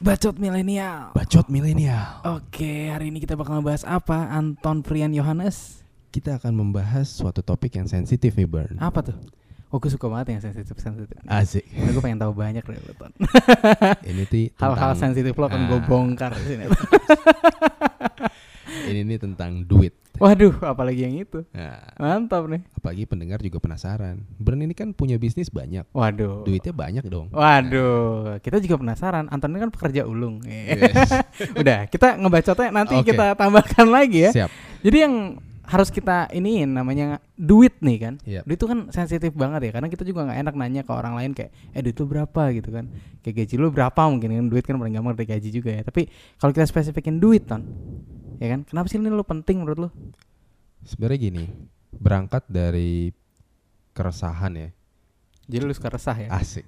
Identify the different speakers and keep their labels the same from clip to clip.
Speaker 1: Bacot milenial.
Speaker 2: Bacot milenial.
Speaker 1: Oke, hari ini kita bakal bahas apa? Anton Prian Yohanes.
Speaker 2: Kita akan membahas suatu topik yang sensitif nih, Burn.
Speaker 1: Apa tuh? Oh, gue suka banget yang sensitif sensitif.
Speaker 2: Asik.
Speaker 1: Nah, gue pengen tahu banyak deh, lo, Ton.
Speaker 2: Ini ti
Speaker 1: Hal-hal
Speaker 2: tentang-
Speaker 1: sensitif lo akan gue
Speaker 2: Ah.
Speaker 1: bongkar di sini.
Speaker 2: Ini nih tentang duit.
Speaker 1: Waduh, apalagi yang itu.
Speaker 2: Nah,
Speaker 1: Mantap nih.
Speaker 2: apalagi pendengar juga penasaran. Burn ini kan punya bisnis banyak.
Speaker 1: Waduh.
Speaker 2: Duitnya banyak dong.
Speaker 1: Oh. Waduh, kita juga penasaran. Anton ini kan pekerja ulung.
Speaker 2: Yes.
Speaker 1: Udah, kita ngebacotnya nanti
Speaker 2: Oke.
Speaker 1: kita tambahkan lagi ya.
Speaker 2: Siap.
Speaker 1: Jadi yang harus kita iniin namanya duit nih kan.
Speaker 2: Yap.
Speaker 1: Duit itu kan sensitif banget ya karena kita juga nggak enak nanya ke orang lain kayak eh duit lu berapa gitu kan. Kayak gaji lu berapa mungkin kan duit kan paling gampang dari gaji juga ya. Tapi kalau kita spesifikin duit ton ya kan kenapa sih ini lu penting menurut lu?
Speaker 2: Sebenarnya gini, berangkat dari keresahan ya.
Speaker 1: Jadi lu suka resah ya.
Speaker 2: Asik.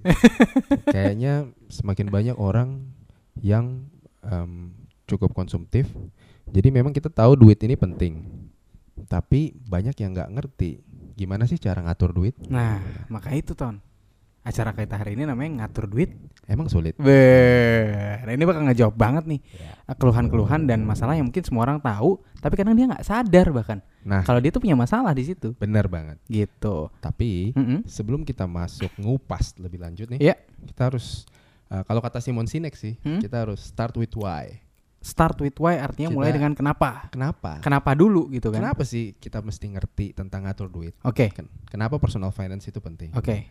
Speaker 2: Kayaknya semakin banyak orang yang em, cukup konsumtif. Jadi memang kita tahu duit ini penting. Tapi banyak yang nggak ngerti gimana sih cara ngatur duit.
Speaker 1: Nah, maka itu ton. Acara kita hari ini namanya ngatur duit.
Speaker 2: Emang sulit.
Speaker 1: Beh, nah ini bakal ngejawab banget nih eh, keluhan-keluhan dan masalah yang mungkin semua orang tahu, tapi kadang dia nggak sadar bahkan
Speaker 2: Nah,
Speaker 1: kalau dia tuh punya masalah di situ
Speaker 2: benar banget.
Speaker 1: gitu.
Speaker 2: Tapi
Speaker 1: Mm-mm.
Speaker 2: sebelum kita masuk ngupas lebih lanjut nih,
Speaker 1: Iya.
Speaker 2: kita harus eh, kalau kata Simon Sinek sih,
Speaker 1: Hmm?
Speaker 2: kita harus start with why.
Speaker 1: Start with why artinya
Speaker 2: Kita-
Speaker 1: mulai dengan kenapa.
Speaker 2: Kenapa?
Speaker 1: Kenapa dulu gitu kan?
Speaker 2: Kenapa sih kita mesti ngerti tentang ngatur duit?
Speaker 1: Oke.
Speaker 2: Ken- Kenapa personal finance itu penting?
Speaker 1: Oke.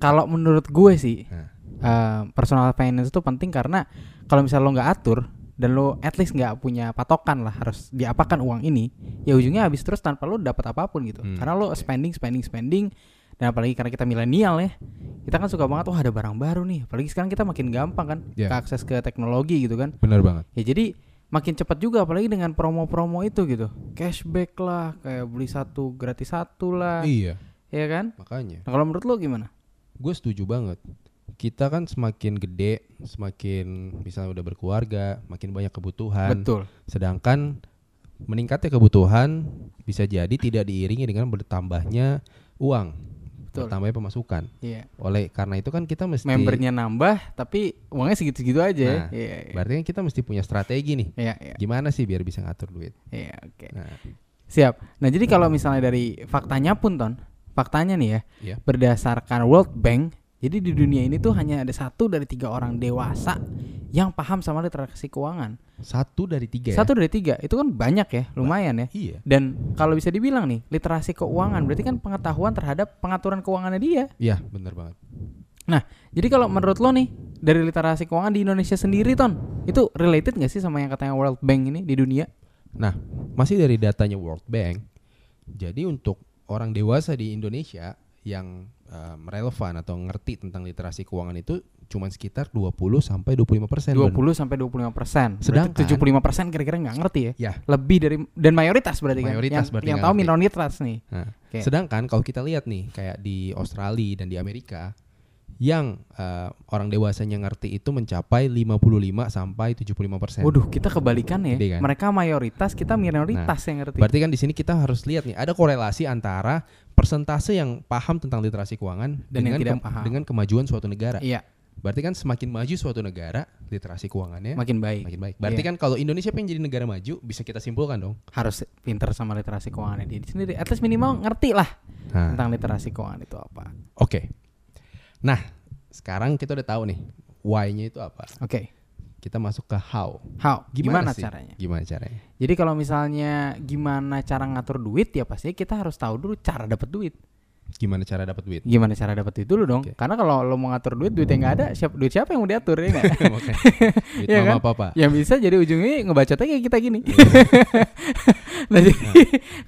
Speaker 1: Kalau menurut gue sih
Speaker 2: Nah,
Speaker 1: eh, personal finance itu penting karena kalau misalnya lo nggak atur dan lo at least nggak punya patokan lah harus diapakan uang ini, ya ujungnya habis terus tanpa lo dapat apapun gitu.
Speaker 2: Hmm,
Speaker 1: Karena lo
Speaker 2: oke.
Speaker 1: spending spending spending dan apalagi karena kita milenial ya, kita kan suka banget wah ada barang baru nih. Apalagi sekarang kita makin gampang kan
Speaker 2: Iya.
Speaker 1: ke akses ke teknologi gitu kan.
Speaker 2: benar banget.
Speaker 1: Ya jadi makin cepat juga apalagi dengan promo-promo itu gitu. Cashback lah, kayak beli satu gratis satu lah,
Speaker 2: Iya,
Speaker 1: ya kan?
Speaker 2: makanya
Speaker 1: Nah, kalau menurut lo gimana?
Speaker 2: gue setuju banget. Kita kan semakin gede, semakin misalnya udah berkeluarga, makin banyak kebutuhan.
Speaker 1: Betul.
Speaker 2: Sedangkan meningkatnya kebutuhan bisa jadi tidak diiringi dengan bertambahnya uang,
Speaker 1: Betul.
Speaker 2: bertambahnya pemasukan.
Speaker 1: Iya.
Speaker 2: Oleh karena itu kan kita mesti
Speaker 1: Membernya nambah tapi uangnya segitu-segitu aja. ya.
Speaker 2: Nah,
Speaker 1: Iya. Iya.
Speaker 2: Berarti kan kita mesti punya strategi nih.
Speaker 1: Iya, iya,
Speaker 2: Gimana sih biar bisa ngatur duit?
Speaker 1: iya, oke.
Speaker 2: Nah,
Speaker 1: Siap. Nah, jadi kalau misalnya dari faktanya pun Ton, faktanya nih ya,
Speaker 2: Iya.
Speaker 1: berdasarkan World Bank, jadi di dunia ini tuh hanya ada satu dari tiga orang dewasa yang paham sama literasi keuangan.
Speaker 2: satu dari tiga
Speaker 1: Satu dari tiga, itu kan banyak ya, lumayan ya.
Speaker 2: ya? Iya.
Speaker 1: Dan kalau bisa dibilang nih, literasi keuangan berarti kan pengetahuan terhadap pengaturan keuangannya dia.
Speaker 2: Iya, benar banget.
Speaker 1: Nah, jadi kalau menurut lo nih, dari literasi keuangan di Indonesia sendiri, Ton, itu related nggak sih sama yang katanya World Bank ini di dunia?
Speaker 2: Nah, masih dari datanya World Bank, jadi untuk orang dewasa di Indonesia yang um, relevan atau ngerti tentang literasi keuangan itu cuman sekitar 20 sampai 25 persen.
Speaker 1: 20 sampai 25 persen.
Speaker 2: Sedangkan-
Speaker 1: 75 persen kira-kira nggak ngerti ya.
Speaker 2: Ya.
Speaker 1: Lebih dari dan mayoritas berarti kan.
Speaker 2: Mayoritas
Speaker 1: yang,
Speaker 2: berarti
Speaker 1: yang
Speaker 2: nggak
Speaker 1: tahu
Speaker 2: ngerti.
Speaker 1: minoritas nih.
Speaker 2: Nah,
Speaker 1: Oke.
Speaker 2: Sedangkan kalau kita lihat nih kayak di Australia dan di Amerika yang uh, orang dewasanya ngerti itu mencapai 55 sampai 75 persen.
Speaker 1: Waduh, kita kebalikan ya.
Speaker 2: Gede kan?
Speaker 1: Mereka mayoritas, kita minoritas yang ngerti.
Speaker 2: Berarti kan di sini kita harus lihat nih ada korelasi antara persentase yang paham tentang literasi keuangan
Speaker 1: Dan yang
Speaker 2: dengan
Speaker 1: tidak
Speaker 2: kem-
Speaker 1: paham.
Speaker 2: dengan kemajuan suatu negara.
Speaker 1: Iya,
Speaker 2: Berarti kan semakin maju suatu negara literasi keuangannya
Speaker 1: makin baik.
Speaker 2: Ya? makin baik. Berarti
Speaker 1: Iya.
Speaker 2: kan kalau Indonesia pengen jadi negara maju bisa kita simpulkan dong.
Speaker 1: Harus pinter sama literasi keuangan dia sendiri. At least minimal ngerti lah
Speaker 2: Nah,
Speaker 1: tentang literasi keuangan itu apa.
Speaker 2: Oke. Nah, sekarang kita udah tahu nih why-nya itu apa.
Speaker 1: Oke.
Speaker 2: Kita masuk ke how.
Speaker 1: How? Gimana,
Speaker 2: sih?
Speaker 1: caranya?
Speaker 2: Gimana caranya?
Speaker 1: Jadi kalau misalnya gimana cara ngatur duit ya pasti kita harus tahu dulu cara dapat duit.
Speaker 2: Gimana cara dapat duit?
Speaker 1: Gimana cara dapat duit dulu dong?
Speaker 2: Oke.
Speaker 1: Karena kalau lo mau ngatur duit, duit yang nggak ada, siapa duit siapa yang mau diatur ya nggak?
Speaker 2: Oke. Duit
Speaker 1: Iya
Speaker 2: mama
Speaker 1: kan?
Speaker 2: papa.
Speaker 1: yang bisa jadi ujungnya ngebacotnya kayak kita gini.
Speaker 2: Iya.
Speaker 1: nah, jadi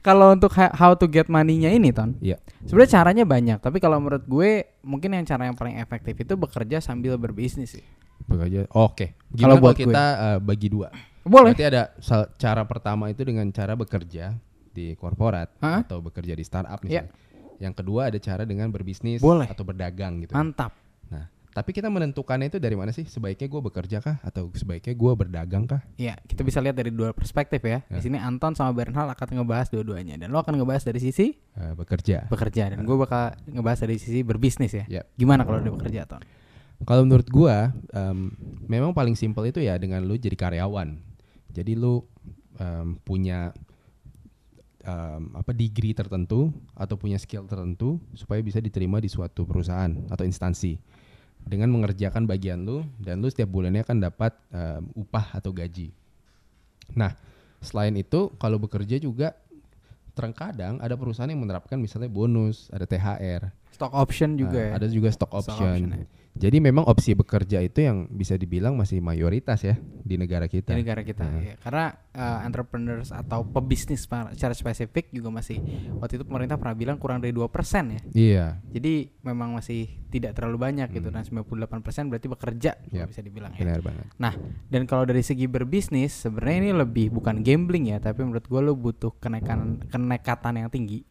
Speaker 1: kalau untuk ha- how to get money-nya ini, Ton.
Speaker 2: Iya.
Speaker 1: Sebenarnya caranya banyak, tapi kalau menurut gue mungkin yang cara yang paling efektif itu bekerja sambil berbisnis sih.
Speaker 2: Bekerja. Oke. Gimana
Speaker 1: buat
Speaker 2: kalau
Speaker 1: gue?
Speaker 2: kita eh, bagi dua?
Speaker 1: Boleh.
Speaker 2: Berarti ada sal- cara pertama itu dengan cara bekerja di korporat
Speaker 1: Hah?
Speaker 2: atau bekerja di startup
Speaker 1: Iya.
Speaker 2: misalnya. Yang kedua ada cara dengan berbisnis
Speaker 1: Boleh.
Speaker 2: atau berdagang gitu.
Speaker 1: Mantap.
Speaker 2: Nah, Tapi kita menentukannya itu dari mana sih? Sebaiknya gue bekerja kah atau sebaiknya gue berdagang kah?
Speaker 1: Iya, kita bisa lihat dari dua perspektif ya. Di
Speaker 2: Ya.
Speaker 1: sini Anton sama Bernhard akan ngebahas dua-duanya dan lo akan ngebahas dari sisi
Speaker 2: Eh, bekerja.
Speaker 1: bekerja dan gue bakal ngebahas dari sisi berbisnis ya.
Speaker 2: Yap.
Speaker 1: Gimana kalau udah bekerja, Ton?
Speaker 2: Kalau menurut gua em, memang paling simpel itu ya dengan lu jadi karyawan. Jadi lu em, punya em, apa degree tertentu atau punya skill tertentu supaya bisa diterima di suatu perusahaan atau instansi. Dengan mengerjakan bagian lu dan lu setiap bulannya akan dapat em, upah atau gaji. Nah, selain itu kalau bekerja juga terkadang ada perusahaan yang menerapkan misalnya bonus, ada THR,
Speaker 1: Stock option juga
Speaker 2: Uh,
Speaker 1: ya.
Speaker 2: Ada juga stock
Speaker 1: Stock
Speaker 2: option.
Speaker 1: option, ya.
Speaker 2: Jadi memang opsi bekerja itu yang bisa dibilang masih mayoritas ya di negara kita.
Speaker 1: di negara kita ya. karena eh, entrepreneurs atau pebisnis pa- secara spesifik juga masih waktu itu pemerintah pernah bilang kurang dari 2% ya
Speaker 2: Iya.
Speaker 1: jadi memang masih tidak terlalu banyak gitu nah 98% berarti bekerja kalau
Speaker 2: Yap.
Speaker 1: bisa dibilang ya
Speaker 2: Hmm. Benar banget.
Speaker 1: nah dan kalau dari segi berbisnis sebenarnya ini lebih bukan gambling ya tapi menurut gua lo butuh kenaikan kenekatan yang tinggi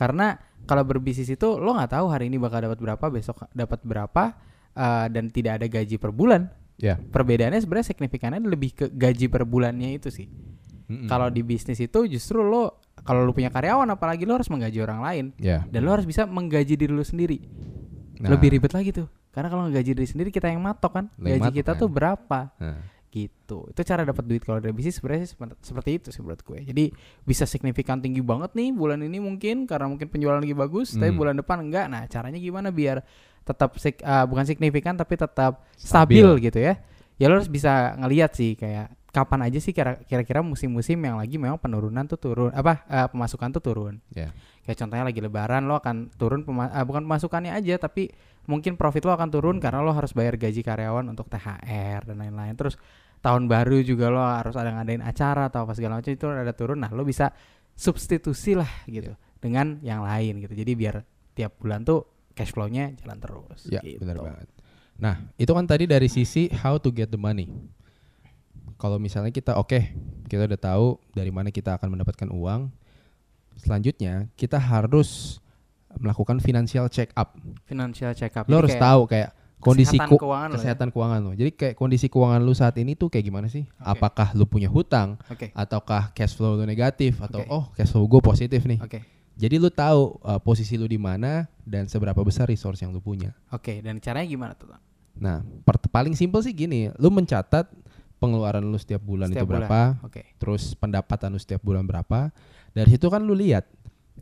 Speaker 1: karena kalau berbisnis itu lo nggak tahu hari ini bakal dapat berapa besok dapat berapa eh, dan tidak ada gaji per bulan
Speaker 2: Ya.
Speaker 1: perbedaannya sebenarnya signifikannya lebih ke gaji per bulannya itu sih.
Speaker 2: Mm-mm.
Speaker 1: Kalau di bisnis itu justru lo kalau lo punya karyawan apalagi lo harus menggaji orang lain
Speaker 2: Ya.
Speaker 1: dan lo harus bisa menggaji diri lo sendiri.
Speaker 2: Nah.
Speaker 1: Lebih ribet lagi tuh. Karena kalau ngegaji diri sendiri kita yang matok kan.
Speaker 2: Lo yang
Speaker 1: gaji
Speaker 2: matok
Speaker 1: kita
Speaker 2: kan.
Speaker 1: tuh berapa
Speaker 2: Nah,
Speaker 1: gitu. Itu cara dapat duit kalau dari bisnis sebenarnya sih sepen- seperti itu sih menurut gue. Jadi bisa signifikan tinggi banget nih bulan ini mungkin karena mungkin penjualan lagi bagus, tapi
Speaker 2: Hmm.
Speaker 1: bulan depan enggak. Nah, caranya gimana biar tetap sig- eh, bukan signifikan tapi tetap stabil,
Speaker 2: Stabil.
Speaker 1: gitu ya. Ya lo harus bisa ngelihat sih kayak kapan aja sih kira- kira-kira musim-musim yang lagi memang penurunan tuh turun apa eh, pemasukan tuh turun.
Speaker 2: Ya.
Speaker 1: Kayak contohnya lagi lebaran lo akan turun pema- eh, bukan pemasukannya aja tapi mungkin profit lo akan
Speaker 2: Hmm.
Speaker 1: turun karena lo harus bayar gaji karyawan untuk THR dan lain-lain. Terus tahun baru juga lo harus ada ngadain acara atau apa segala macam itu ada turun nah lo bisa substitusi lah gitu
Speaker 2: Iya.
Speaker 1: dengan yang lain gitu jadi biar tiap bulan tuh cash flow-nya jalan terus
Speaker 2: Ya,
Speaker 1: gitu.
Speaker 2: benar banget. Nah, itu kan tadi dari sisi how to get the money. Kalau misalnya kita oke, kita udah tahu dari mana kita akan mendapatkan uang. Selanjutnya, kita harus melakukan financial check up.
Speaker 1: financial check up Jadi
Speaker 2: Lo harus
Speaker 1: kayak
Speaker 2: tahu kayak kondisi
Speaker 1: kesehatan
Speaker 2: ku-
Speaker 1: keuangan lo ya.
Speaker 2: kesehatan keuangan lo. Jadi kayak kondisi keuangan lo saat ini tuh kayak gimana sih? Apakah lo punya hutang
Speaker 1: oke
Speaker 2: ataukah cash flow lo negatif atau
Speaker 1: Oke.
Speaker 2: oh cash flow gue positif nih.
Speaker 1: oke
Speaker 2: Jadi lo tahu uh, posisi lo di mana dan seberapa besar resource yang lo punya.
Speaker 1: oke dan caranya gimana tuh Ton?
Speaker 2: Nah, per- paling simpel sih gini, lo mencatat pengeluaran lo setiap bulan
Speaker 1: Setiap
Speaker 2: itu
Speaker 1: bulan.
Speaker 2: berapa,
Speaker 1: oke
Speaker 2: terus pendapatan lu setiap bulan berapa. Dari situ kan lu lihat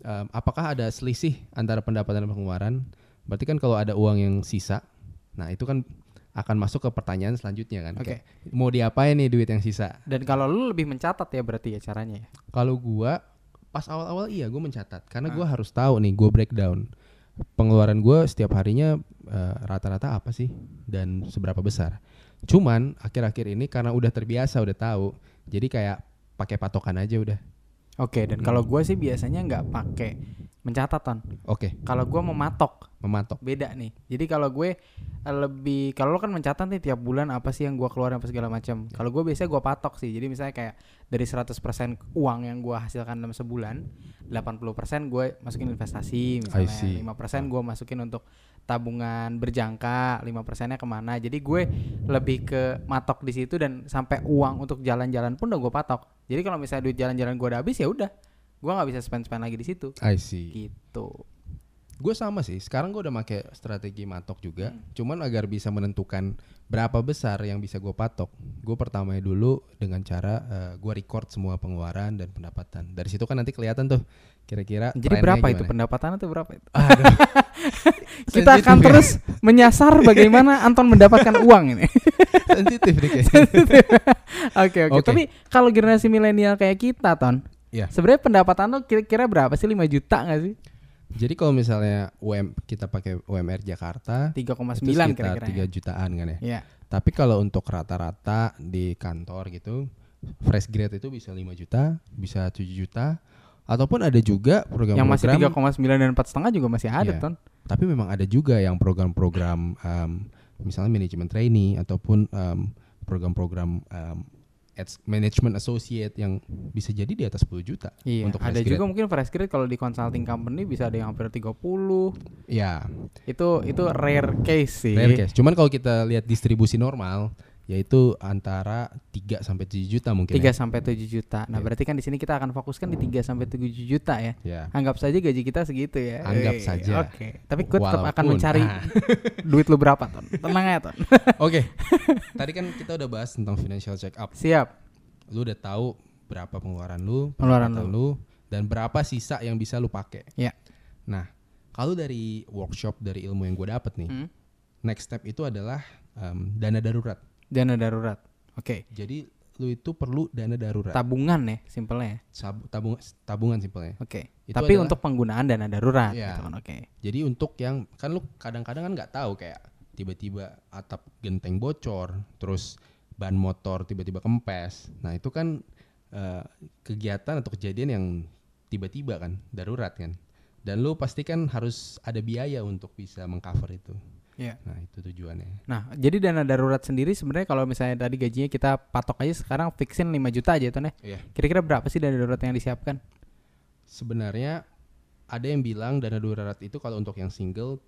Speaker 2: em, apakah ada selisih antara pendapatan dan pengeluaran. Berarti kan kalau ada uang yang sisa, nah itu kan akan masuk ke pertanyaan selanjutnya kan.
Speaker 1: Oke.
Speaker 2: Kayak, mau diapain nih duit yang sisa?
Speaker 1: dan kalau lo lebih mencatat ya berarti ya caranya ya
Speaker 2: Kalau gua pas awal-awal iya gua mencatat karena gua harus tahu nih gua breakdown pengeluaran gua setiap harinya eh, rata-rata apa sih dan seberapa besar. Cuman akhir-akhir ini karena udah terbiasa udah tahu, jadi kayak pakai patokan aja udah.
Speaker 1: oke dan kalau gue sih biasanya nggak pakai mencatat Ton.
Speaker 2: Oke,
Speaker 1: kalau gue mematok
Speaker 2: mematok.
Speaker 1: beda nih. Jadi kalau gue eh, lebih kalau lo kan mencatat nih tiap bulan apa sih yang gue keluarin apa segala macam.
Speaker 2: Iya.
Speaker 1: Kalau gue biasanya gue patok sih. Jadi misalnya kayak dari 100% uang yang gue hasilkan dalam sebulan, 80% gue masukin investasi
Speaker 2: I see. Ah.
Speaker 1: misalnya, 5% gue masukin untuk tabungan berjangka, 5%-nya kemana. Jadi gue lebih ke matok di situ dan sampai uang untuk jalan-jalan pun udah gue patok. Jadi kalau misalnya duit jalan-jalan gue udah habis ya udah, gue nggak bisa spend-spend lagi di situ.
Speaker 2: I see.
Speaker 1: Gitu.
Speaker 2: Gue sama sih. Sekarang gue udah make strategi matok juga.
Speaker 1: Hmm.
Speaker 2: Cuman agar bisa menentukan berapa besar yang bisa gue patok, gue pertamanya dulu dengan cara eh, gue record semua pengeluaran dan pendapatan. Dari situ kan nanti kelihatan tuh kira-kira.
Speaker 1: Jadi
Speaker 2: trennya
Speaker 1: berapa itu
Speaker 2: gimana.
Speaker 1: pendapatannya tuh berapa itu?
Speaker 2: Aduh.
Speaker 1: kita
Speaker 2: Sensitif
Speaker 1: akan
Speaker 2: ya.
Speaker 1: terus menyasar bagaimana Anton mendapatkan uang ini.
Speaker 2: sensitif nih kayaknya.
Speaker 1: Oke oke. Ya.
Speaker 2: Oke.
Speaker 1: Tapi kalau generasi milenial kayak kita, Ton,
Speaker 2: Iya.
Speaker 1: sebenarnya pendapatan lo kira-kira berapa sih? 5 juta nggak sih?
Speaker 2: Jadi kalau misalnya UM kita pakai UMR Jakarta,
Speaker 1: 3,9
Speaker 2: itu sekitar
Speaker 1: kira-kira.
Speaker 2: 3 jutaan kan ya.
Speaker 1: Ya.
Speaker 2: Tapi kalau untuk rata-rata di kantor gitu, fresh grade itu bisa 5 juta, bisa 7 juta, ataupun ada juga
Speaker 1: Yang masih 3,9
Speaker 2: program-program
Speaker 1: dan 4,5 juga masih ada,
Speaker 2: Iya.
Speaker 1: Ton.
Speaker 2: tapi memang ada juga yang program-program em, misalnya manajemen trainee ataupun em, program-program em, ads management associate yang bisa jadi di atas 10 juta
Speaker 1: Iya,
Speaker 2: untuk
Speaker 1: ada
Speaker 2: fresh
Speaker 1: juga
Speaker 2: grad.
Speaker 1: mungkin fresh grade kalau di consulting company bisa ada yang hampir 30.
Speaker 2: Ya,
Speaker 1: Itu itu rare case sih.
Speaker 2: rare case. Cuman kalau kita lihat distribusi normal yaitu antara 3 sampai 7 juta mungkin. ya.
Speaker 1: 3 sampai 7 juta. Nah,
Speaker 2: Iya.
Speaker 1: berarti kan di sini kita akan fokuskan di 3 sampai 7 juta ya.
Speaker 2: Ya. Ya.
Speaker 1: Anggap saja gaji kita segitu ya. Wih,
Speaker 2: Anggap saja.
Speaker 1: Oke. Tapi gue tetap akan
Speaker 2: Walaupun,
Speaker 1: mencari
Speaker 2: ah.
Speaker 1: duit lu berapa, Ton. Tenang ya, Ton.
Speaker 2: Oke. Tadi kan kita udah bahas tentang financial check up.
Speaker 1: Siap.
Speaker 2: Lu udah tahu berapa pengeluaran lu,
Speaker 1: Pengeluaran
Speaker 2: pendapatan dan berapa sisa yang bisa lu pakai.
Speaker 1: Ya.
Speaker 2: Nah, kalau dari workshop dari ilmu yang gue dapet nih,
Speaker 1: Hmm.
Speaker 2: next step itu adalah em, dana darurat.
Speaker 1: Dana darurat. Oke.
Speaker 2: Jadi lu itu perlu dana darurat.
Speaker 1: Tabungan ya, simpelnya. ya.
Speaker 2: Sab- tabung- tabungan simpelnya.
Speaker 1: Oke.
Speaker 2: Itu
Speaker 1: Tapi
Speaker 2: adalah-
Speaker 1: untuk penggunaan dana darurat
Speaker 2: Iya.
Speaker 1: gitu kan. Oke.
Speaker 2: Jadi untuk yang kan lu kadang-kadang kan nggak tahu kayak tiba-tiba atap genteng bocor, terus ban motor tiba-tiba kempes. Nah, itu kan eh, kegiatan atau kejadian yang tiba-tiba kan, darurat kan. Dan lu pastikan harus ada biaya untuk bisa mengcover itu.
Speaker 1: Iya.
Speaker 2: Nah, itu tujuannya.
Speaker 1: Nah, jadi dana darurat sendiri sebenarnya kalau misalnya tadi gajinya kita patok aja sekarang fixin 5 juta aja Ton ya.
Speaker 2: Iya.
Speaker 1: Kira-kira berapa sih dana darurat yang disiapkan?
Speaker 2: Sebenarnya ada yang bilang dana darurat itu kalau untuk yang single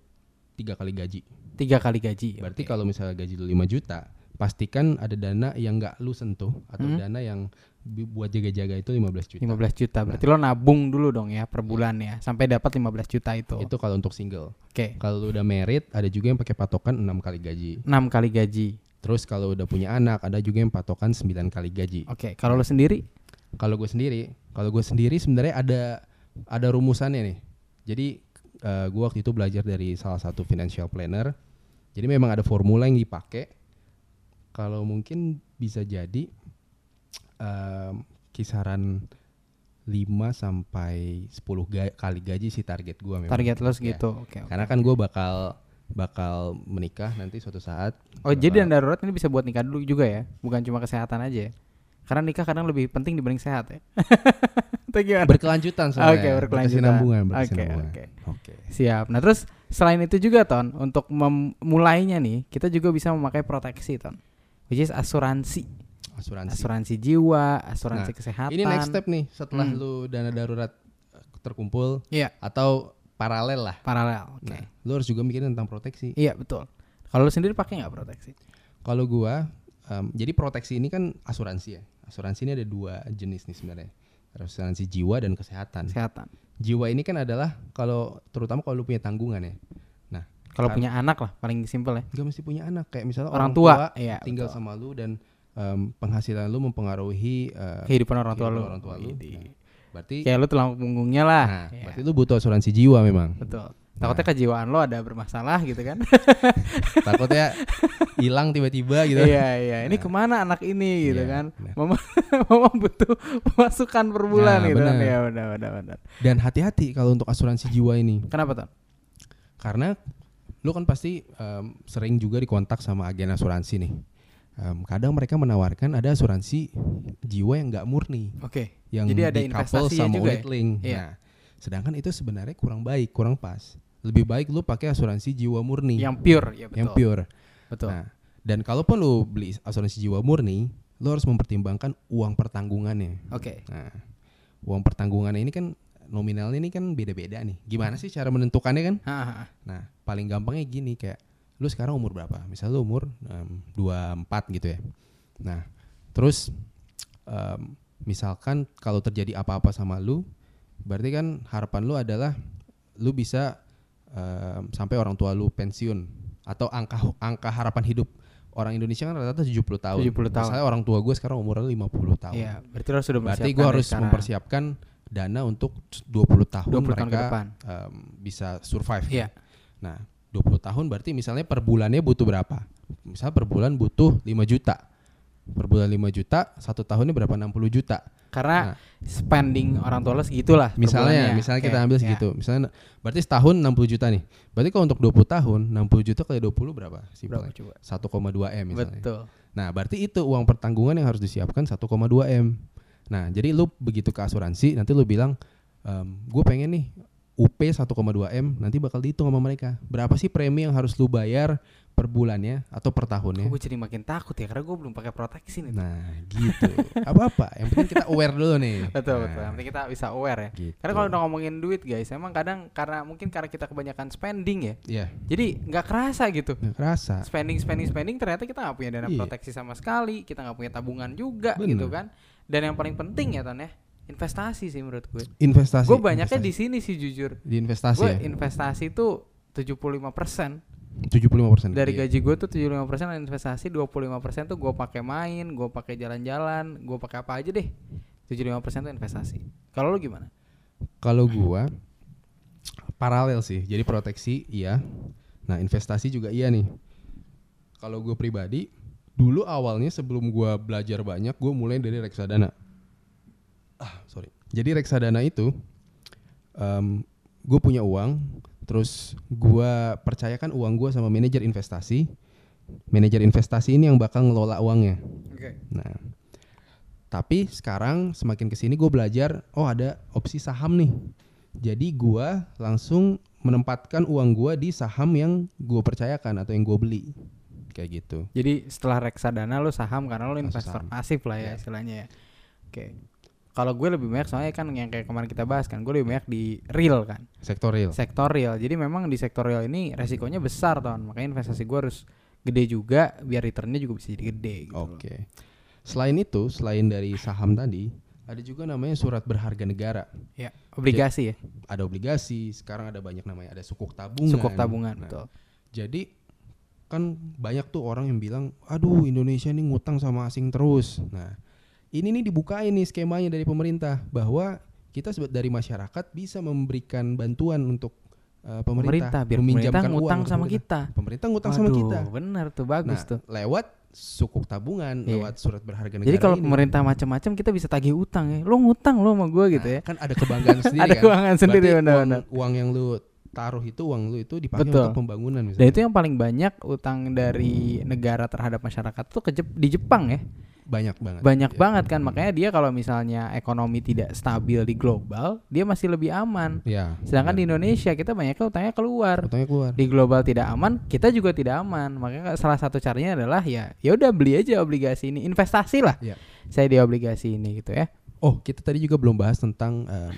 Speaker 2: tiga kali gaji.
Speaker 1: Tiga kali gaji.
Speaker 2: Berarti kalau misalnya gaji lu 5 juta, pastikan ada dana yang nggak lu sentuh atau
Speaker 1: Hmm.
Speaker 2: dana yang bi- buat jaga-jaga itu 15 juta.
Speaker 1: 15 juta. Berarti lo nabung dulu dong ya per bulan ya sampai dapat 15 juta itu.
Speaker 2: Itu kalau untuk single.
Speaker 1: Oke.
Speaker 2: Kalau lu udah married, ada juga yang pakai patokan 6 kali gaji.
Speaker 1: 6 kali gaji.
Speaker 2: Terus kalau udah punya anak, ada juga yang patokan 9 kali gaji.
Speaker 1: Oke, kalau lo sendiri
Speaker 2: Kalau gue sendiri, kalau gue sendiri sebenarnya ada ada rumusannya nih. Jadi eh, gue waktu itu belajar dari salah satu financial planner. Jadi memang ada formula yang dipakai. Kalau mungkin bisa jadi em, kisaran 5 sampai 10 ga- kali gaji sih target gue memang. Iya.
Speaker 1: target lo segitu. Oke. oke.
Speaker 2: Karena kan gue bakal bakal menikah nanti suatu saat.
Speaker 1: Oh, jadi dana darurat ini bisa buat nikah dulu juga ya, bukan cuma kesehatan aja. ya? Karena nikah kadang lebih penting dibanding sehat ya. Atau gimana?
Speaker 2: berkelanjutan soalnya.
Speaker 1: Oke, berkelanjutan.
Speaker 2: Berkesinambungan,
Speaker 1: Oke,
Speaker 2: berkesinambungan.
Speaker 1: oke.
Speaker 2: Oke.
Speaker 1: Siap. Nah, terus selain itu juga Ton, untuk memulainya nih, kita juga bisa memakai proteksi Ton. Which is asuransi.
Speaker 2: Asuransi.
Speaker 1: Asuransi jiwa, asuransi
Speaker 2: Nah,
Speaker 1: kesehatan.
Speaker 2: Ini next step nih setelah
Speaker 1: Hmm.
Speaker 2: lu dana darurat eh, terkumpul
Speaker 1: Iya,
Speaker 2: atau paralel lah.
Speaker 1: paralel. Oke.
Speaker 2: Nah, lu harus juga mikirin tentang proteksi.
Speaker 1: Iya, betul. Kalau lu sendiri pakai nggak proteksi?
Speaker 2: Kalau gua em, jadi proteksi ini kan asuransi ya. Asuransi ini ada dua jenis nih sebenarnya. Asuransi jiwa dan kesehatan.
Speaker 1: Kesehatan.
Speaker 2: Jiwa ini kan adalah kalau terutama kalau lu punya tanggungan ya. Nah,
Speaker 1: Kalau
Speaker 2: Kan-
Speaker 1: punya anak lah paling simpel ya.
Speaker 2: gak mesti punya anak kayak misalnya
Speaker 1: Orang tua,
Speaker 2: orang,
Speaker 1: iya,
Speaker 2: tinggal
Speaker 1: betul.
Speaker 2: sama lu dan em, penghasilan lu mempengaruhi eh,
Speaker 1: Kehidupan orang tua
Speaker 2: kehidupan
Speaker 1: lu. Gitu.
Speaker 2: orang tua lu.
Speaker 1: Widih.
Speaker 2: Nah, berarti
Speaker 1: Kayak lu tulang punggungnya lah.
Speaker 2: nah,
Speaker 1: Iya,
Speaker 2: berarti nah. lu butuh asuransi jiwa memang.
Speaker 1: Betul. Takutnya kejiwaan lo ada bermasalah gitu kan?
Speaker 2: takutnya hilang tiba-tiba gitu
Speaker 1: Iya iya. Ini kemana anak ini gitu
Speaker 2: Iya,
Speaker 1: kan?
Speaker 2: benar.
Speaker 1: Mama mama butuh pemasukan per bulan
Speaker 2: Nah,
Speaker 1: gitu kan?
Speaker 2: benar.
Speaker 1: Ya benar benar benar.
Speaker 2: dan hati-hati kalau untuk asuransi jiwa ini
Speaker 1: Kenapa Ton?
Speaker 2: karena lu kan pasti em, sering juga dikontak sama agen asuransi nih Em, kadang mereka menawarkan ada asuransi jiwa yang nggak murni
Speaker 1: Oke.
Speaker 2: yang
Speaker 1: Jadi ada
Speaker 2: di-couple
Speaker 1: investasinya
Speaker 2: sama
Speaker 1: juga ya?
Speaker 2: unit link
Speaker 1: Iya.
Speaker 2: Nah, sedangkan itu sebenarnya kurang baik kurang pas lebih baik lu pakai asuransi jiwa murni
Speaker 1: Yang pure ya betul.
Speaker 2: yang pure
Speaker 1: Betul.
Speaker 2: Nah, dan kalaupun lu beli asuransi jiwa murni lu harus mempertimbangkan uang pertanggungannya
Speaker 1: Oke.
Speaker 2: Nah, uang pertanggungan ini kan nominalnya ini kan beda-beda nih. Gimana sih cara menentukannya kan?
Speaker 1: Hah, hah, hah.
Speaker 2: Nah, paling gampangnya gini kayak lu sekarang umur berapa? Misal lu umur em, 24 gitu ya. Nah, terus em, misalkan kalau terjadi apa-apa sama lu, berarti kan harapan lu adalah lu bisa em, sampai orang tua lu pensiun atau angka angka harapan hidup orang Indonesia kan rata-rata 70 tahun.
Speaker 1: 70 tahun.
Speaker 2: Misalnya orang tua gue sekarang umurnya 50 tahun.
Speaker 1: Iya, berarti lo sudah
Speaker 2: Berarti
Speaker 1: mempersiapkan
Speaker 2: gue
Speaker 1: dari
Speaker 2: harus
Speaker 1: sekarang.
Speaker 2: mempersiapkan dana untuk 20 tahun
Speaker 1: 20
Speaker 2: mereka
Speaker 1: tahun ke depan.
Speaker 2: em, bisa survive.
Speaker 1: Iya.
Speaker 2: Nah, 20 tahun berarti misalnya per bulannya butuh berapa? Misal per bulan butuh 5 juta. Per bulan 5 juta, satu tahunnya berapa? 60 juta.
Speaker 1: Karena
Speaker 2: Nah.
Speaker 1: spending orang tua lo segitulah. per
Speaker 2: Misalnya,
Speaker 1: bulannya.
Speaker 2: misalnya
Speaker 1: Oke,
Speaker 2: kita ambil
Speaker 1: ya.
Speaker 2: segitu. Misalnya berarti setahun 60 juta nih. Berarti kalau untuk 20 tahun, 60 juta kali 20 berapa?
Speaker 1: Berapa
Speaker 2: Simpelnya.
Speaker 1: coba?
Speaker 2: 1,2 M misalnya.
Speaker 1: Betul.
Speaker 2: Nah, berarti itu uang pertanggungan yang harus disiapkan 1,2 M. Nah, jadi lu begitu ke asuransi, nanti lu bilang, gue pengen nih UP 1,2M nanti bakal dihitung sama mereka. Berapa sih premi yang harus lu bayar per bulannya atau per tahunnya?
Speaker 1: gue jadi makin takut ya karena gue belum pakai proteksi nih.
Speaker 2: Nah, gitu. Apa-apa. Yang penting kita aware dulu nih.
Speaker 1: Betul
Speaker 2: Nah,
Speaker 1: betul. Yang penting kita bisa aware ya.
Speaker 2: Gitu.
Speaker 1: Karena kalau udah ngomongin duit guys, emang kadang karena mungkin karena kita kebanyakan spending ya.
Speaker 2: Iya,
Speaker 1: Jadi nggak kerasa gitu.
Speaker 2: nggak kerasa.
Speaker 1: Spending spending spending ternyata kita nggak punya dana
Speaker 2: Nah. Iya.
Speaker 1: proteksi sama sekali, kita nggak punya tabungan juga
Speaker 2: Bener.
Speaker 1: gitu kan. Dan yang paling penting ya Ton ya, investasi sih menurut gue.
Speaker 2: Investasi.
Speaker 1: Gue banyaknya di sini
Speaker 2: investasi.
Speaker 1: sih jujur.
Speaker 2: di investasi
Speaker 1: Gue
Speaker 2: ya.
Speaker 1: investasi tuh 75%
Speaker 2: 75%
Speaker 1: dari
Speaker 2: Iya.
Speaker 1: gaji gue tuh 75% adalah investasi, 25% tuh gue pakai main, gue pakai jalan-jalan, gue pakai apa aja deh. 75% tuh investasi. Kalau lu gimana?
Speaker 2: Kalau gua paralel sih. Jadi proteksi iya. Nah, investasi juga iya nih. Kalau gua pribadi dulu awalnya sebelum gua belajar banyak, gua mulai dari reksadana. Ah, sorry. Jadi reksadana itu em gue punya uang, terus gua percayakan uang gua sama manajer investasi. Manajer investasi ini yang bakal ngelola uangnya.
Speaker 1: Oke.
Speaker 2: Nah, tapi sekarang semakin kesini gue belajar, oh ada opsi saham nih. Jadi gue langsung menempatkan uang gue di saham yang gue percayakan atau yang gue beli, kayak gitu.
Speaker 1: Jadi setelah reksadana lu saham karena lu
Speaker 2: Langsung
Speaker 1: investor
Speaker 2: saham. Iya.
Speaker 1: pasif lah ya istilahnya ya. Oke. Kalau gue lebih banyak soalnya kan yang kayak kemarin kita bahas kan, gue lebih banyak di real kan,
Speaker 2: Sektor real.
Speaker 1: sektor real. Jadi memang di sektor real ini resikonya besar ton, makanya investasi gue harus gede juga biar returnnya juga bisa jadi gede. Gitu loh.
Speaker 2: Oke. Selain itu, selain dari saham tadi, ada juga namanya surat berharga negara.
Speaker 1: Ya, obligasi ya,
Speaker 2: Ada obligasi, sekarang ada banyak namanya, ada sukuk tabungan.
Speaker 1: sukuk tabungan
Speaker 2: Nah,
Speaker 1: betul.
Speaker 2: Jadi kan banyak tuh orang yang bilang, aduh Indonesia nih ngutang sama asing terus. Nah ini nih dibukain nih skemanya dari pemerintah bahwa kita seba- dari masyarakat bisa memberikan bantuan untuk uh,
Speaker 1: Pemerintah,
Speaker 2: pemerintah,
Speaker 1: biar
Speaker 2: meminjamkan
Speaker 1: pemerintah ngutang
Speaker 2: uang ke
Speaker 1: sama
Speaker 2: pemerintah.
Speaker 1: kita.
Speaker 2: Pemerintah ngutang
Speaker 1: Waduh,
Speaker 2: sama kita.
Speaker 1: bener tuh bagus
Speaker 2: Nah,
Speaker 1: tuh.
Speaker 2: lewat sukuk tabungan,
Speaker 1: Iya.
Speaker 2: lewat surat berharga negara
Speaker 1: Jadi kalau
Speaker 2: ini,
Speaker 1: pemerintah macam-macam kita bisa tagih utang ya. Lo ngutang lo sama gue
Speaker 2: nah,
Speaker 1: gitu ya.
Speaker 2: Kan ada kebanggaan sendiri
Speaker 1: Ada
Speaker 2: kan.
Speaker 1: keuangan sendiri,
Speaker 2: Berarti
Speaker 1: benar-benar.
Speaker 2: Uang, uang yang lu taruh itu uang lu itu dipakai
Speaker 1: Betul.
Speaker 2: untuk pembangunan
Speaker 1: Dan
Speaker 2: misalnya.
Speaker 1: itu yang paling banyak utang dari negara terhadap masyarakat tuh ke Jep- di Jepang ya.
Speaker 2: banyak banget.
Speaker 1: Banyak
Speaker 2: Nah, Iya.
Speaker 1: banget kan makanya dia kalau misalnya ekonomi tidak stabil di global, dia masih lebih aman.
Speaker 2: Iya.
Speaker 1: Sedangkan
Speaker 2: benar.
Speaker 1: di Indonesia kita banyaknya utangnya keluar.
Speaker 2: Utangnya keluar.
Speaker 1: Di global tidak aman, kita juga tidak aman. Makanya salah satu caranya adalah ya ya udah beli aja obligasi ini, investasi lah.
Speaker 2: Iya.
Speaker 1: Saya di obligasi ini gitu ya.
Speaker 2: Oh, kita tadi juga belum bahas tentang em,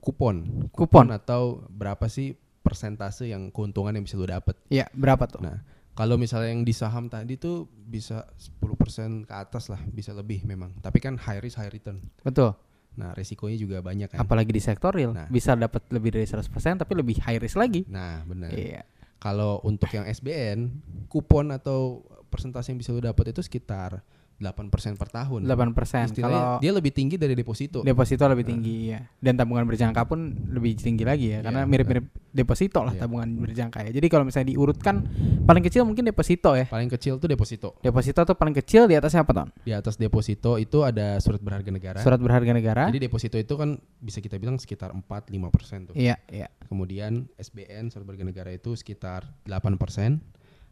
Speaker 2: kupon.
Speaker 1: Kupon.
Speaker 2: atau berapa sih persentase yang keuntungan yang bisa lu dapet.
Speaker 1: Ya, berapa tuh?
Speaker 2: Nah, kalau misalnya yang di saham tadi tuh bisa 10% ke atas lah, bisa lebih memang. Tapi kan high risk high return.
Speaker 1: Betul.
Speaker 2: Nah, resikonya juga banyak kan.
Speaker 1: apalagi di sektor real
Speaker 2: Nah.
Speaker 1: bisa dapat lebih dari 100% tapi lebih high risk lagi.
Speaker 2: Nah, benar.
Speaker 1: Iya.
Speaker 2: Kalau untuk yang SBN, kupon atau persentase yang bisa lu dapet itu sekitar 8% per tahun.
Speaker 1: 8%. Kalau
Speaker 2: Istilahnya dia lebih tinggi dari deposito. Nah.
Speaker 1: deposito lebih tinggi ya. Dan tabungan berjangka pun lebih tinggi lagi ya karena
Speaker 2: Iya,
Speaker 1: mirip-mirip deposito lah
Speaker 2: Iya.
Speaker 1: tabungan berjangka ya. Jadi kalau misalnya diurutkan paling kecil mungkin deposito ya.
Speaker 2: Paling kecil tuh deposito.
Speaker 1: Deposito tuh paling kecil di atasnya apa, Ton?
Speaker 2: Di atas deposito itu ada surat berharga negara.
Speaker 1: Surat berharga negara.
Speaker 2: Jadi deposito itu kan bisa kita bilang sekitar 4-5 persen tuh.
Speaker 1: iya, iya.
Speaker 2: Kemudian SBN surat berharga negara itu sekitar 8 persen.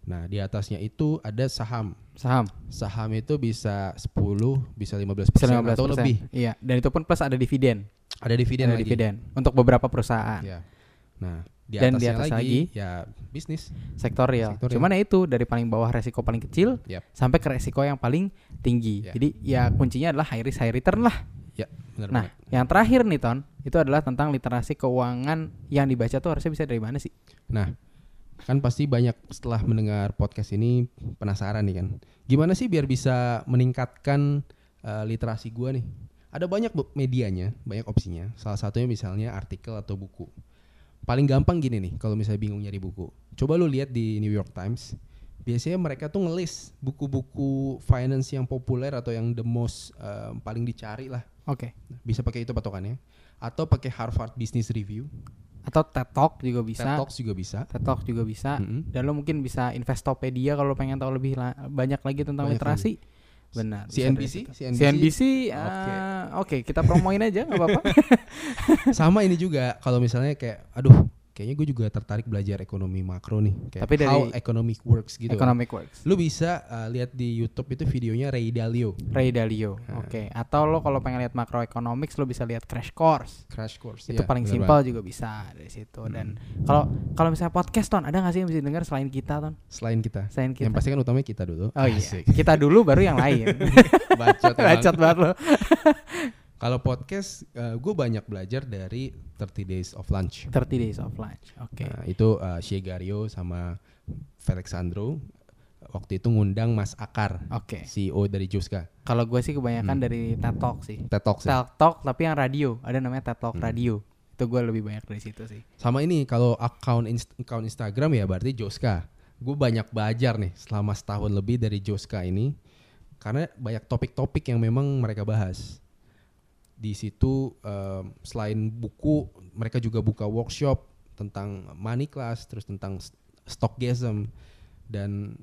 Speaker 2: Nah di atasnya itu ada saham.
Speaker 1: Saham
Speaker 2: Saham itu bisa 10, bisa
Speaker 1: bisa
Speaker 2: 15 persen
Speaker 1: 15%.
Speaker 2: atau lebih.
Speaker 1: Iya, dan itu pun plus ada dividen.
Speaker 2: Ada dividen
Speaker 1: ada
Speaker 2: lagi.
Speaker 1: dividen untuk beberapa perusahaan.
Speaker 2: Ya. Nah di
Speaker 1: Dan
Speaker 2: atasnya
Speaker 1: di atas
Speaker 2: lagi,
Speaker 1: lagi.
Speaker 2: ya bisnis.
Speaker 1: sektor real.
Speaker 2: Sektor real.
Speaker 1: Cuman ya itu dari paling bawah resiko paling kecil
Speaker 2: Yap.
Speaker 1: sampai ke resiko yang paling tinggi.
Speaker 2: Ya.
Speaker 1: Jadi ya kuncinya adalah high risk high return lah.
Speaker 2: Ya benar
Speaker 1: Nah,
Speaker 2: banget.
Speaker 1: yang terakhir nih Ton, itu adalah tentang literasi keuangan yang dibaca tuh harusnya bisa dari mana sih?
Speaker 2: Nah kan pasti banyak setelah mendengar podcast ini penasaran nih kan. Gimana sih biar bisa meningkatkan eh, literasi gua nih? Ada banyak bu- medianya, banyak opsinya. Salah satunya misalnya artikel atau buku. Paling gampang gini nih kalau misalnya bingung nyari buku. Coba lu lihat di New York Times. Biasanya mereka tuh ngelis buku-buku finance yang populer atau yang the most eh, paling dicari lah.
Speaker 1: Oke.
Speaker 2: Bisa pakai itu patokannya. Atau pakai Harvard Business Review.
Speaker 1: Atau TED Talk juga bisa.
Speaker 2: TED Hmm. Talks juga bisa.
Speaker 1: TED Talk juga bisa.
Speaker 2: Mm-mm.
Speaker 1: Dan lo mungkin bisa Investopedia kalau pengen tahu lebih la- banyak lagi tentang
Speaker 2: Banyak
Speaker 1: literasi. Benar. bisa dari
Speaker 2: CNBC?
Speaker 1: situ.
Speaker 2: CNBC?
Speaker 1: CNBC. ah, Oke,
Speaker 2: Oke.
Speaker 1: kita promoin aja nggak apa-apa.
Speaker 2: sama ini juga kalau misalnya kayak aduh kayaknya gue juga tertarik belajar ekonomi makro nih kayak
Speaker 1: Tapi dari-
Speaker 2: how economic works gitu kan.
Speaker 1: Economic Works.
Speaker 2: lu bisa uh, lihat di YouTube itu videonya Ray Dalio
Speaker 1: Ray Dalio.
Speaker 2: Ah.
Speaker 1: Oke, atau lo kalau pengen lihat macroeconomics lo bisa lihat Crash Course.
Speaker 2: Crash Course
Speaker 1: Itu
Speaker 2: Iya,
Speaker 1: paling
Speaker 2: bener Hmm.
Speaker 1: simpel juga bisa dari situ. Dan kalau kalau misalnya podcast ton, ada nggak sih yang bisa denger selain kita ton?
Speaker 2: banget. selain kita.
Speaker 1: Selain kita.
Speaker 2: yang pasti kan utamanya kita dulu
Speaker 1: Oh iya.
Speaker 2: Asik.
Speaker 1: Kita dulu baru yang lain.
Speaker 2: bacot, emang.
Speaker 1: Bacot banget lo.
Speaker 2: kalau podcast gue banyak belajar dari 30 Days of Lunch
Speaker 1: 30 Days of Lunch. Oke.
Speaker 2: Nah, itu uh, Shegario sama Felix Sandro waktu itu ngundang Mas Akar
Speaker 1: Oke.
Speaker 2: CEO dari Juska
Speaker 1: Kalau gue sih kebanyakan
Speaker 2: Hmm.
Speaker 1: dari TED Talk sih.
Speaker 2: TED Talks ya.
Speaker 1: TED Talk tapi yang radio. Ada namanya TED Talk
Speaker 2: Hmm.
Speaker 1: radio. Itu gue lebih banyak dari situ sih.
Speaker 2: sama ini kalau account inst- account Instagram ya berarti Joska gue banyak belajar nih selama setahun lebih dari Joska ini karena banyak topik-topik yang memang mereka bahas di situ eh, selain buku mereka juga buka workshop tentang money class terus tentang st- stockgasm dan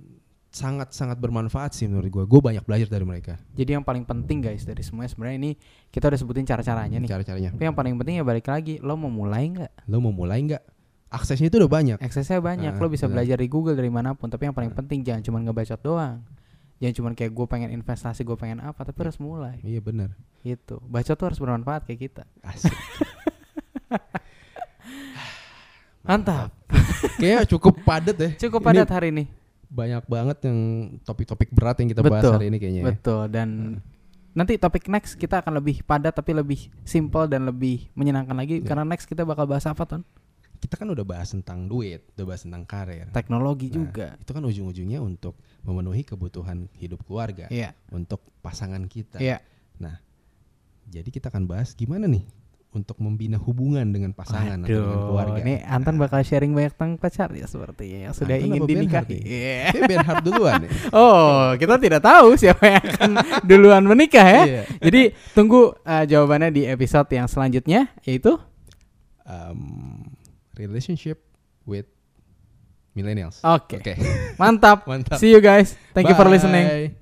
Speaker 2: sangat-sangat bermanfaat sih menurut gue gue banyak belajar dari mereka
Speaker 1: Jadi yang paling penting guys dari semuanya sebenarnya ini kita udah sebutin cara-caranya nih.
Speaker 2: cara-caranya
Speaker 1: Tapi yang paling penting ya balik lagi lo mau mulai nggak?
Speaker 2: lo mau mulai nggak aksesnya itu udah banyak
Speaker 1: Aksesnya banyak,
Speaker 2: Ah,
Speaker 1: lo bisa
Speaker 2: benar.
Speaker 1: belajar di Google dari manapun. Tapi yang
Speaker 2: Eh.
Speaker 1: paling penting jangan cuma ngebacot doang. Jangan cuma kayak gue pengen investasi, gue pengen apa, tapi harus mulai.
Speaker 2: iya benar
Speaker 1: Gitu. Bacot tuh harus bermanfaat kayak kita.
Speaker 2: Asik.
Speaker 1: Mantap.
Speaker 2: kayaknya cukup padat ya
Speaker 1: Cukup
Speaker 2: Ini
Speaker 1: padat hari ini.
Speaker 2: banyak banget yang topik-topik berat yang kita bahas
Speaker 1: Betul,
Speaker 2: hari ini kayaknya. ya.
Speaker 1: Betul dan nanti topik next kita akan lebih padat tapi lebih simple dan lebih menyenangkan
Speaker 2: Iya.
Speaker 1: lagi karena next kita bakal bahas apa ton?
Speaker 2: Kita kan udah bahas tentang duit, udah bahas tentang karir.
Speaker 1: Teknologi
Speaker 2: Nah,
Speaker 1: juga.
Speaker 2: Itu kan ujung-ujungnya untuk memenuhi kebutuhan hidup keluarga,
Speaker 1: Iya.
Speaker 2: untuk pasangan kita.
Speaker 1: Iya.
Speaker 2: Nah, jadi kita akan bahas gimana nih untuk membina hubungan dengan pasangan atau dengan
Speaker 1: Aduh,
Speaker 2: keluarga. Nah.
Speaker 1: ini Anton bakal sharing banyak tentang pacar ya seperti yang sudah
Speaker 2: Anton
Speaker 1: ingin
Speaker 2: apa Ben
Speaker 1: dinikahi.
Speaker 2: Hardy?
Speaker 1: Iya.
Speaker 2: Kayak Bernhard duluan ya.
Speaker 1: Oh, kita tidak tahu siapa yang akan duluan menikah ya.
Speaker 2: Iya.
Speaker 1: Jadi tunggu uh, jawabannya di episode yang selanjutnya yaitu
Speaker 2: Um, relationship with millennials.
Speaker 1: Oke.
Speaker 2: Oke.
Speaker 1: Mantap.
Speaker 2: Mantap.
Speaker 1: See you guys. Thank you for
Speaker 2: Bye.
Speaker 1: listening.